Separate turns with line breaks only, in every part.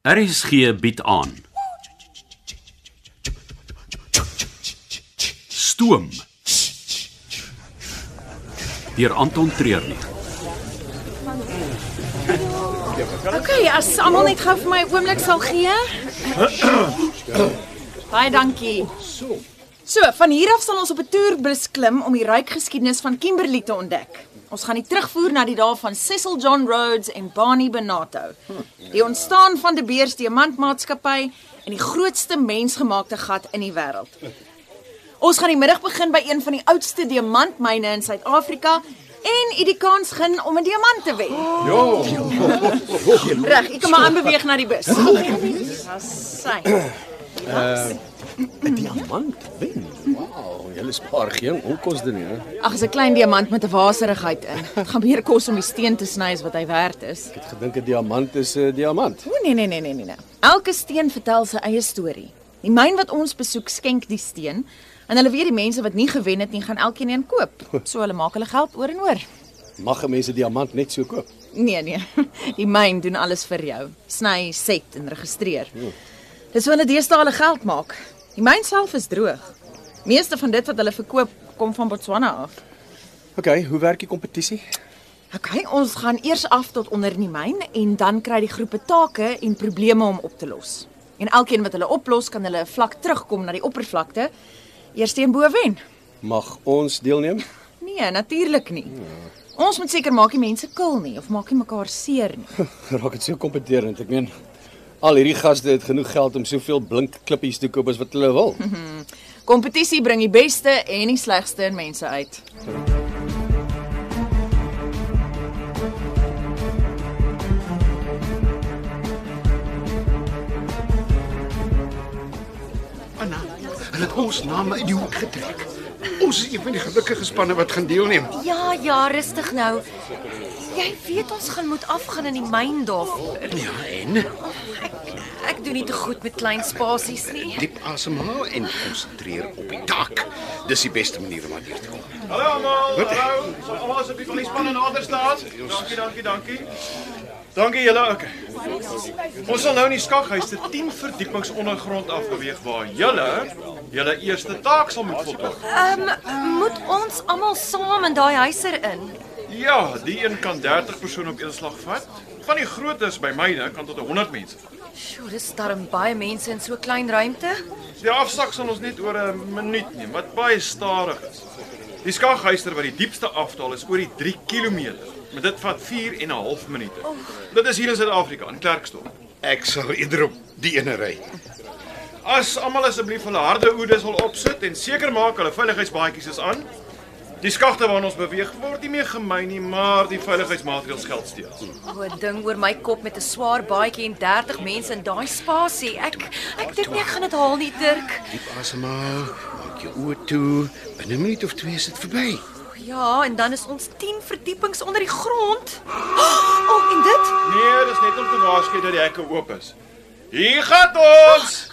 RSG bied aan. Stoom. Deur Anton Treurnig.
Okay, as almal net gou vir my 'n oomblik sal gee. Baie dankie. So, van hier af sal ons op 'n toerbus klim om die ryk geskiedenis van Kimberley te ontdek. Ons gaan die terugvoer na die dae van Cecil John Rhodes en Barney Benato. Die ontstaan van De Beers Diamantmaatskappy en die grootste mensgemaakte gat in die wêreld. Ons gaan die middag begin by een van die oudste diamantmyne in Suid-Afrika en u die kans gun om 'n diamant te wen. Reg, ek kan maar aanbeweeg na die bus. Sy.
Diamant wen. Wow, Oh, julle spaar geen onkoste nie, hè.
Ag, is 'n klein diamant met 'n waserigheid in. Dit gaan meer kos om die steen te sny as wat hy werd is.
Ek het gedink 'n diamant is 'n diamant.
O nee nee nee nee nee, nee. Elke steen vertel sy eie storie. Die myn wat ons besoek skenk die steen en hulle weet die mense wat nie gewen het nie gaan elkeen een koop. So hulle maak hulle geld oor en oor.
Mag 'n mens 'n diamant net so koop?
Nee nee. Die myn doen alles vir jou. Sny, set en registreer. Dis hoe hulle deesdae hulle geld maak. Die myn self is droog. Meeste van dit wat hulle verkoop kom van Botswana af.
OK, hoe werk die kompetisie?
Okay, ons gaan eers af tot onder die myn en dan kry die groepe take en probleme om op te los. En elkeen wat hulle oplos, kan hulle 'n vlak terugkom na die oppervlakte. Eers teen bo wen.
Mag ons deelneem?
Nee, natuurlik nie. Ons moet seker maak die mense kil nie of maak nie mekaar seer nie.
Raak dit so kompeterend. Ek meen al hierdie gaste het genoeg geld om soveel blink klippies te koop as wat hulle wil.
Kompetisie bring die beste en die slegste in mense uit.
Anna, hulle het ons name uit die hoek getrek. Ons is een van die gelukkige spanne wat gaan deelneem.
Ja, ja, rustig nou. Jy weet ons gaan moet afgaan in die myn daarvoor.
Ja, en
Ek doen nie te goed met klein spasies nie.
diep asemhaal en konsentreer op die taak. Dis die beste manier om aan hier te kom.
Hallo almal. Hallo. Sal almal asseblief van die span in nader staan? Dankie, dankie, dankie. Dankie julle. Okay. Ons sal nou in die skaghuis te 10 verdiepings ondergrond afbeweeg waar julle julle eerste taak sal moet voltooi.
Ehm, moet ons almal saam in daai huiser in?
Ja, die een kan 30 persone op een slag vat. Van die grootes by myne kan tot 100 mense.
Sjoe, dis darm baie mense in so 'n klein ruimte.
Die afsak sal ons net oor 'n minuut neem wat baie stadig is. Die skaghuister wat die diepste afdaal is oor die 3 km. Maar dit vat 4 en 'n half minute. Dit is hier in Suid-Afrika in Klerksdorp.
Ek sal eerder op die ene ry.
As almal asseblief hulle harde oedes wil opsit en seker maak hulle veiligheidsbaadjies is aan. Die skagte waarna ons beweeg word nie meer gemyn nie, maar die veiligheidsmaatreëls geld steeds.
O, 'n ding oor my kop met 'n swaar baadjie en 30 mense in daai spasie. Ek ek dink nie ek gaan dit haal nie, Dirk.
Diep asemhaal, maak jou oë toe. Binne 'n minuut of twee is dit verby.
Ja, en dan is ons 10 verdiepings onder die grond. O, oh, en dit?
Nee, dis net om te waarsku dat die hekke oop is. Hier gaan ons.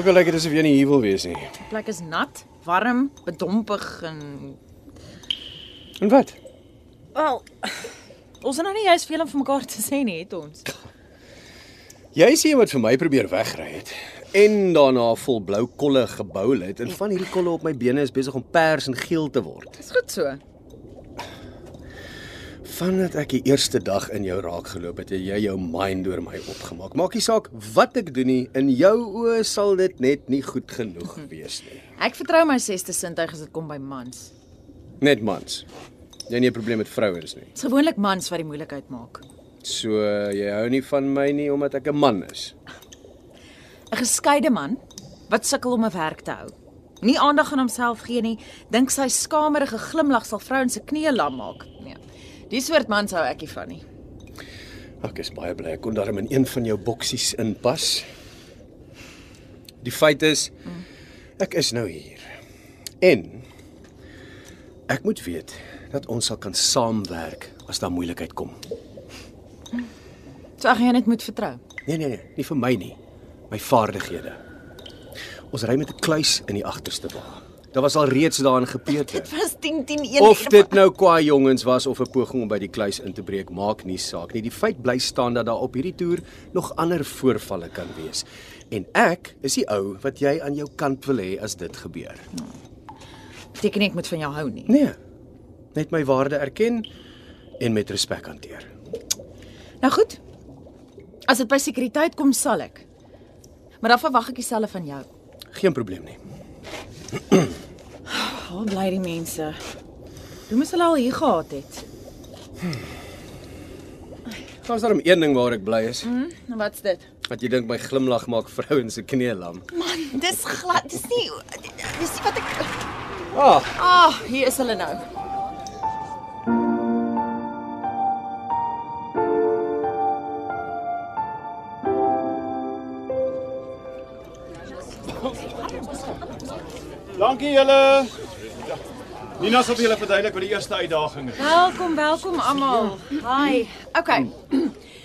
Ook al lyk dit asof jy nie hier wil wees nie.
Die plek is nat, warm, bedompig en
En wat?
wel ons het nou nie juist veel om vir mekaar te sê nie, het ons.
Jy is een wat vir my probeer wegry het en daarna vol blou kolle gebou het en van hierdie kolle op my bene is besig om pers en geel te word.
Dis goed so.
Vandat ek die eerste dag in jou raak geloop het, het jy jou mind oor my opgemaak. Maak nie saak wat ek doen nie, in jou oë sal dit net nie goed genoeg wees nie.
Ek vertrou my sesde sintuig as dit kom by mans.
Net mans. Jy het nie 'n probleem met vrouens nie.
Dit's gewoonlik mans wat die moeilikheid maak.
So jy hou nie van my nie omdat ek 'n man is.
'n geskeide man wat sukkel om 'n werk te hou. Nie aandag aan homself gee nie, dink sy skamerige glimlag sal vrouens se knieë lam maak. Nee. Die soort man sou ek nie van nie.
Ek is baie bly ek kon daarom in een van jou boksies inpas. Die feit is ek is nou hier. En ek moet weet dat ons sal kan saamwerk as daar moeilikheid kom.
So ek gaan jou net moet vertrou.
Nee nee nee, nie vir my nie. My vaardighede. Ons ry met 'n kluis in die agterste wa. Daar was al reeds daarin gepeter.
Was 10 10 1
Of dit nou kwaai jongens was of 'n poging om by die kluis in te breek, maak nie saak nie. Die feit bly staan dat daar op hierdie toer nog ander voorvalle kan wees. En ek is die ou wat jy aan jou kant wil hê as dit gebeur.
beteken nie ek moet van jou hou nie.
Nee. Net my waarde erken en met respek hanteer.
Nou goed. As dit by sekuriteit kom, sal ek. Maar dan verwag ek dieselfde van jou.
Geen probleem nie.
Waar bly die mense? Hoe moes hulle al hier gehad het?
Daar's darem een ding waar ek bly is.
Nou wat's dit?
Wat jy dink my glimlag maak vrouens se knie lam.
Man, dis glad. Dis nie dis nie wat ek
Ah,
Ah, oh, hier is hulle nou.
Dankie julle. Nina sal vir julle verduidelik wat die eerste uitdaging is.
Welkom, welkom almal. Hi. Okay.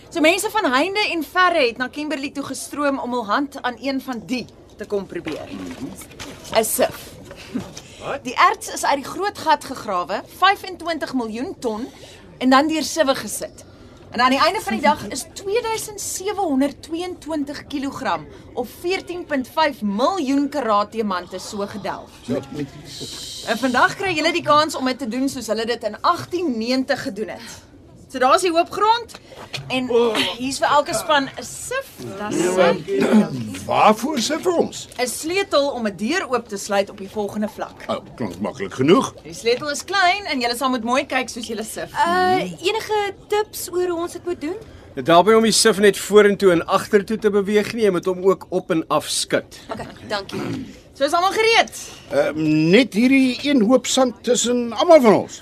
So mense van heinde en verre het na Kimberley toe gestroom om hul hand aan een van die te kom probeer. 'n Sif. Die erts is uit die groot gat gegrawe, 25 miljoen ton en dan deur sewe gesit. En aan die einde van die dag is 2722 kg of 14.5 miljoen karaat diamante so gedelf. En vandag kry julle die kans om dit te doen soos hulle dit in 1890 gedoen het. So daar's die hoop grond en
Oh.
hier's vir elke span 'n sif, dis sy,
Nee, Waarvoor sit vir ons?
'n sleutel om 'n deur oop te sluit op die volgende vlak.
Ou, oh, klink maklik genoeg.
Die sleutel is klein en julle sal moet mooi kyk soos julle sif.
Uh enige tips oor hoe ons dit moet doen?
dit help nie om die sif net vorentoe en agtertoe te beweeg nie, jy moet hom ook op en af skud.
Okay, dankie.
So is almal gereed.
Ehm net hierdie een hoop sand tussen almal van ons.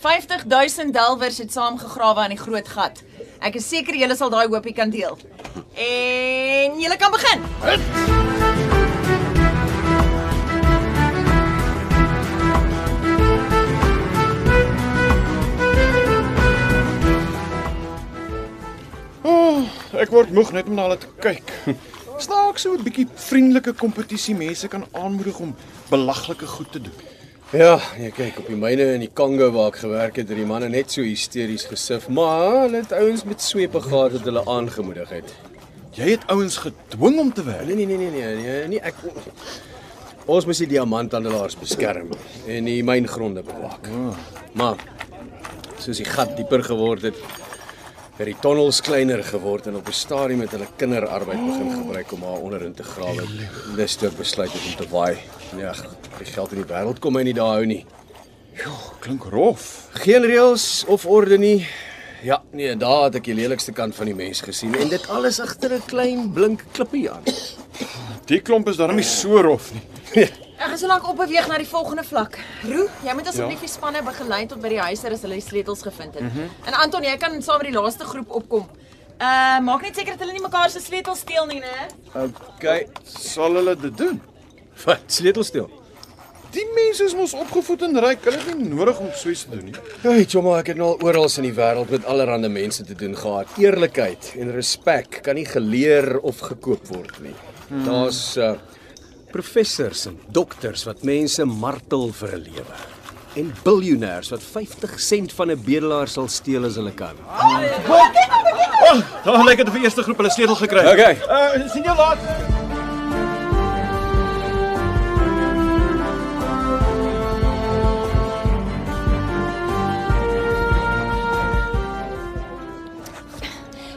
50000 delwers het saam gegrawe aan die groot gat. Ek is seker julle sal daai hoopie kan deel. En julle kan begin.
Oh, Ek word moeg net om na hulle te kyk. Snaaks so 'n bietjie vriendelike kompetisie mense kan aanmoedig om belaglike goed te doen.
Ja, jy kyk op die myne in die Kongo waar ek gewerk het, het die manne net so hysteries gesif, maar hulle het ouens met swepe gehad wat hulle aangemoedig het.
Jy het ouens gedwing om te werk.
Nee nee nee nee nee, nee, nee ek Ons moes die diamanthandelaars beskerm en die myngronde bewaak.
Ah.
Maar soos die gat dieper geword het, het die tonnels kleiner geword en op 'n stadium het hulle kinderarbeid begin gebruik om haar onderin te grawe. Dis toe ek besluit het om te waai. Ja, die geld in die wêreld kom my nie daar hou nie.
Klink rof.
Geen reëls of orde nie. Ja, nee, daar het ek die lelikste kant van die mens gesien en dit alles agter 'n klein blink klippie aan.
Die klomp is darem nie so rof nie.
Ek gaan so lank op beweeg na die volgende vlak. Roo, jy moet asseblief die spanne begelei tot by die huiser as hulle die sleutels gevind het. Mm -hmm. En Anton, jy kan saam met die laaste groep opkom. Uh maak net seker dat hulle nie mekaar se sleutels steel nie, né?
Okay,
Sal hulle dit doen?
wat sleutelstil.
Die mense is mos opgevoed en ryk. Hulle het nie nodig om so iets te doen nie.
Hey, Jomma, ek het nou al oral in die wêreld met allerlei mense te doen gehad. Eerlikheid en respek kan nie geleer of gekoop word nie. Daar's uh, professors en dokters wat mense martel vir 'n lewe en biljoenêers wat 50 sent van 'n bedelaar sal steel as hulle kan.
Dan Ja, lyk dit vir eerste groep hulle sleutel gekry.
Okay.
Uh sien jou later.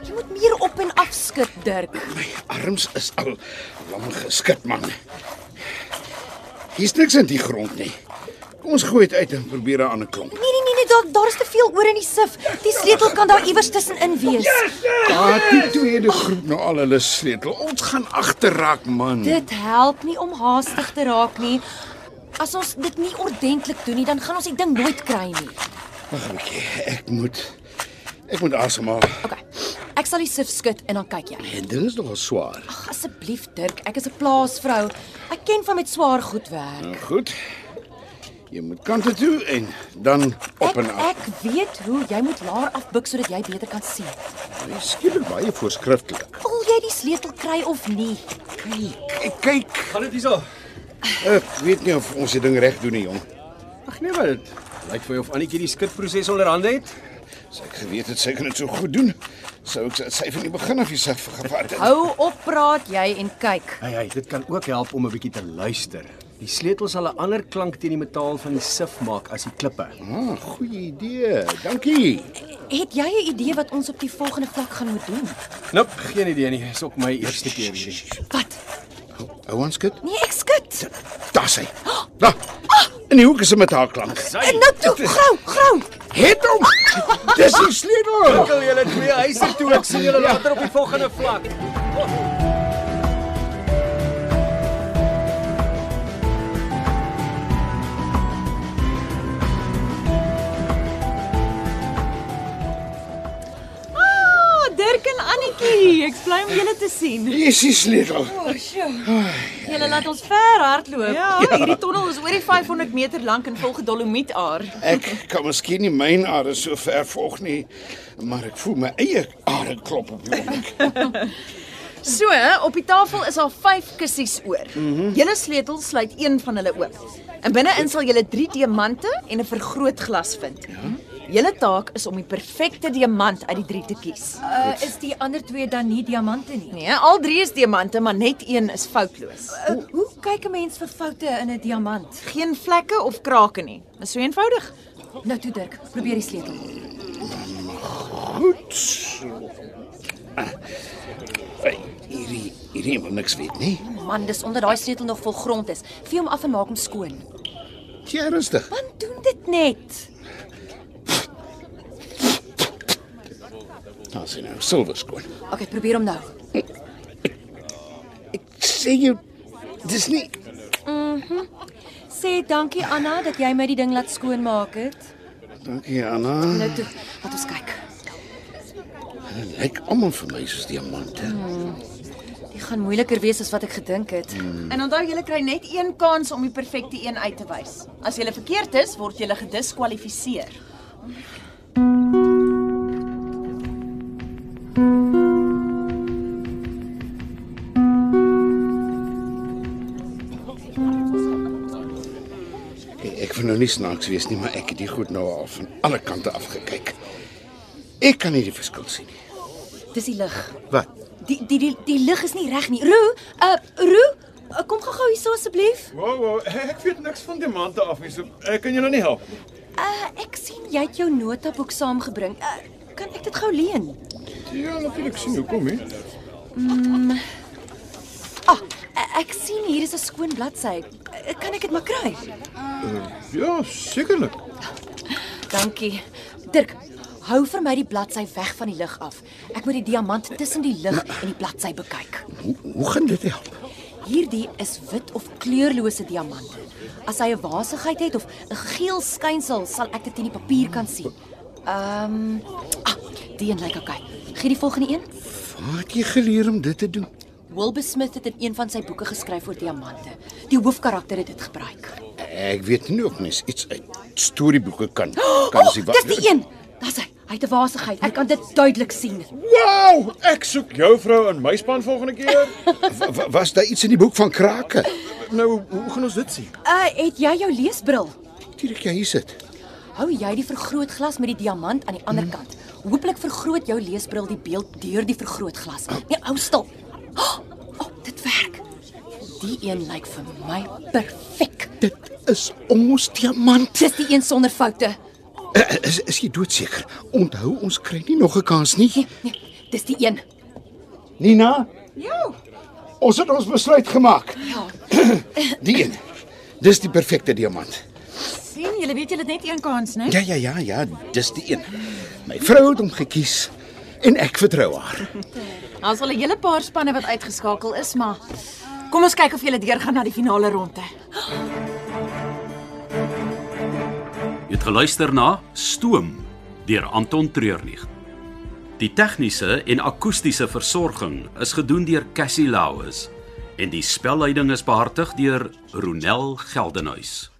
Jy moet meer op en af skud, Dirk.
My arms is al lang geskit, man. Hier's niks in die grond nie. Kom ons gooi dit uit en probeer 'n ander klomp.
Nee nee nee, nee daar daar's te veel oor in die sif. Die sleutel kan daar iewers tussenin wees.
Ah, die tweede groep nou al hulle sleutel. Ons gaan agterraak, man.
Dit help nie om haastig te raak nie. As ons dit nie ordentlik doen nie, dan gaan ons die ding nooit kry nie.
Wag 'n bietjie. Ek moet ek moet asemhaal.
Okay. Ek sal die sif skud en dan kyk jy.
Die ding is nogal swaar.
Ag asseblief Dirk, ek is 'n plaasvrou. Ek ken van met swaar goed werk.
Nou goed. Jy moet kante toe en dan op
Ek,
en af.
ek weet hoe jy moet laer afbuk sodat jy beter kan sien.
Jy skielik baie voorskrifklik.
Wil jy die sleutel kry of nie?
Kyk, kyk.
Gaan dit hierso?
Ek weet nie of ons die ding reg doen nie, jong.
Ag nee, maar dit lyk vir jou of Annetjie die skitproses onderhande het.
As ek geweet het sy kan dit so goed doen, sou ek sy van die begin af jouself vergevaar het.
Hou op praat jy en kyk.
Hey, hey, dit kan ook help om 'n bietjie te luister. Die sleutel sal 'n ander klank teen die metaal van die sif maak as die klippe.
Ah, goeie idee. Dankie.
Het jy 'n idee wat ons op die volgende vlak gaan moet doen?
Nope, geen idee nie. Dis ook my eerste keer hierdie.
Wat?
Hou ons skit.
Nee, ek skud.
Daar sy. Daar. In die hoek is 'n metaalklank.
En nou toe, grou, grou.
Het hom. Dis die sleutel.
Wil julle twee huise toe? Ek sien julle later op die volgende vlak.
Ah, Dirk en Annetjie, ek's bly om julle te sien.
Hier is die sleutel.
Oh, Julle laat ons ver hardloop.
Ja, hierdie tonnel is oor die 500 meter lank en vol gedolomietaar.
Ek kan miskien nie myn are so ver volg nie, maar ek voel my eie are klop op die oomblik.
So, op die tafel is al 5 kussies oor. Julle sleutel sluit een van hulle oop. En binne-in sal julle 3 diamante en 'n vergrootglas vind. Julle taak is om die perfekte diamant uit die 3 te kies.
Uh, is die ander twee dan nie diamante nie?
Nee, al 3 is diamante, maar net een is foutloos.
Uh, hoe kyk 'n mens vir foute in 'n diamant?
Geen vlekke of krake nie. Is so eenvoudig.
Nou toe Dirk, probeer die sleutel.
Goed. so. Hey, hierdie hierdie wil niks weet nie.
Man, dis omdat daai sleutel nog vol grond is. Vee hom af en maak hom skoon.
Jy rustig.
Man, doen dit net.
Daar sien nou silwer skoon.
Okay, probeer hom nou.
Ek sê jou dis nie
Sê dankie Anna dat jy my die ding laat skoonmaak het.
Dankie Anna.
Nou toe, laat ons kyk.
Dit lyk almal vir my soos diamante.
Dit gaan moeiliker wees as wat ek gedink het.
En onthou julle kry net een kans om die perfekte een uit te wys. As julle verkeerd is, word julle gediskwalifiseer.
Hey, ek wil nou nie snaaks wees nie, maar ek het die goed nou al van alle kante af gekyk. Ek kan nie die verskil sien nie.
Dis die lig.
Wat?
Die die die, die lig is nie reg nie. Roo, uh Roo, uh, kom gou-gou hier so asseblief.
Wow, wow, ek weet niks van diamante af nie. So ek kan julle nie help.
Uh ek sien jy het jou notaboek saamgebring. Uh, kan ek dit gou leen?
Ja, natuurlik sien hoe kom hier.
Ah, uh, ek sien hier is 'n skoon bladsy. Uh, kan ek dit maar kry?
Ja, sekerlik.
Dankie. Dirk, hou vir my die bladsy weg van die lig af. Ek moet die diamant tussen die lig en die bladsy bekyk.
Hoe hoe gaan dit help?
Hierdie is wit of kleurlose diamante. As hy 'n wasigheid het of 'n geel skynsel, sal ek dit in die papier kan sien. Ehm, um, ah, die een lyk okay. Gee die volgende een.
Waar het jy geleer om dit te doen?
Wilbur Smith het in een van sy boeke geskryf oor diamante. Die hoofkarakter het dit gebruik.
Ek weet nie of mens iets uit storieboeke kan kan
Oh, dis die een. Daar's hy. Hy het 'n wasigheid. Ek kan dit duidelik sien.
Wow, ek soek jou vrou in my span volgende keer.
Wa- wa- Was daar iets in die boek van krake?
nou, hoe gaan ons dit sien?
Uh, het jy jou leesbril?
Dierik jy ja, hier sit.
Hou jy die vergrootglas met die diamant aan die ander kant. Hooplik vergroot jou leesbril die beeld deur die vergrootglas. Nee, hou stil. Oh, oh, dit werk. Die een lyk vir my perfek.
Dit is ons diamant.
Dis die een sonder foute.
Eh, Is is jy doodseker? Onthou ons kry nie nog 'n kans nie.
Nee, nee, dis die een.
Nina,
Jo,
ons het ons besluit gemaak.
Ja.
Die een. Dis die perfekte diamant.
sien julle weet julle het net een kans, né?
Ja ja ja ja, dis die een. My vrou het hom gekies en ek vertrou haar.
Daar's al 'n hele paar spanne wat uitgeskakel is, maar kom ons kyk of julle deurgaan na die finale ronde.
Jy het geluister na Stoom deur Anton Treurnig. Die tegniese en akoestiese versorging is gedoen deur Cassie Lauis en die spelleiding is behartig deur Ronel Geldenhuys.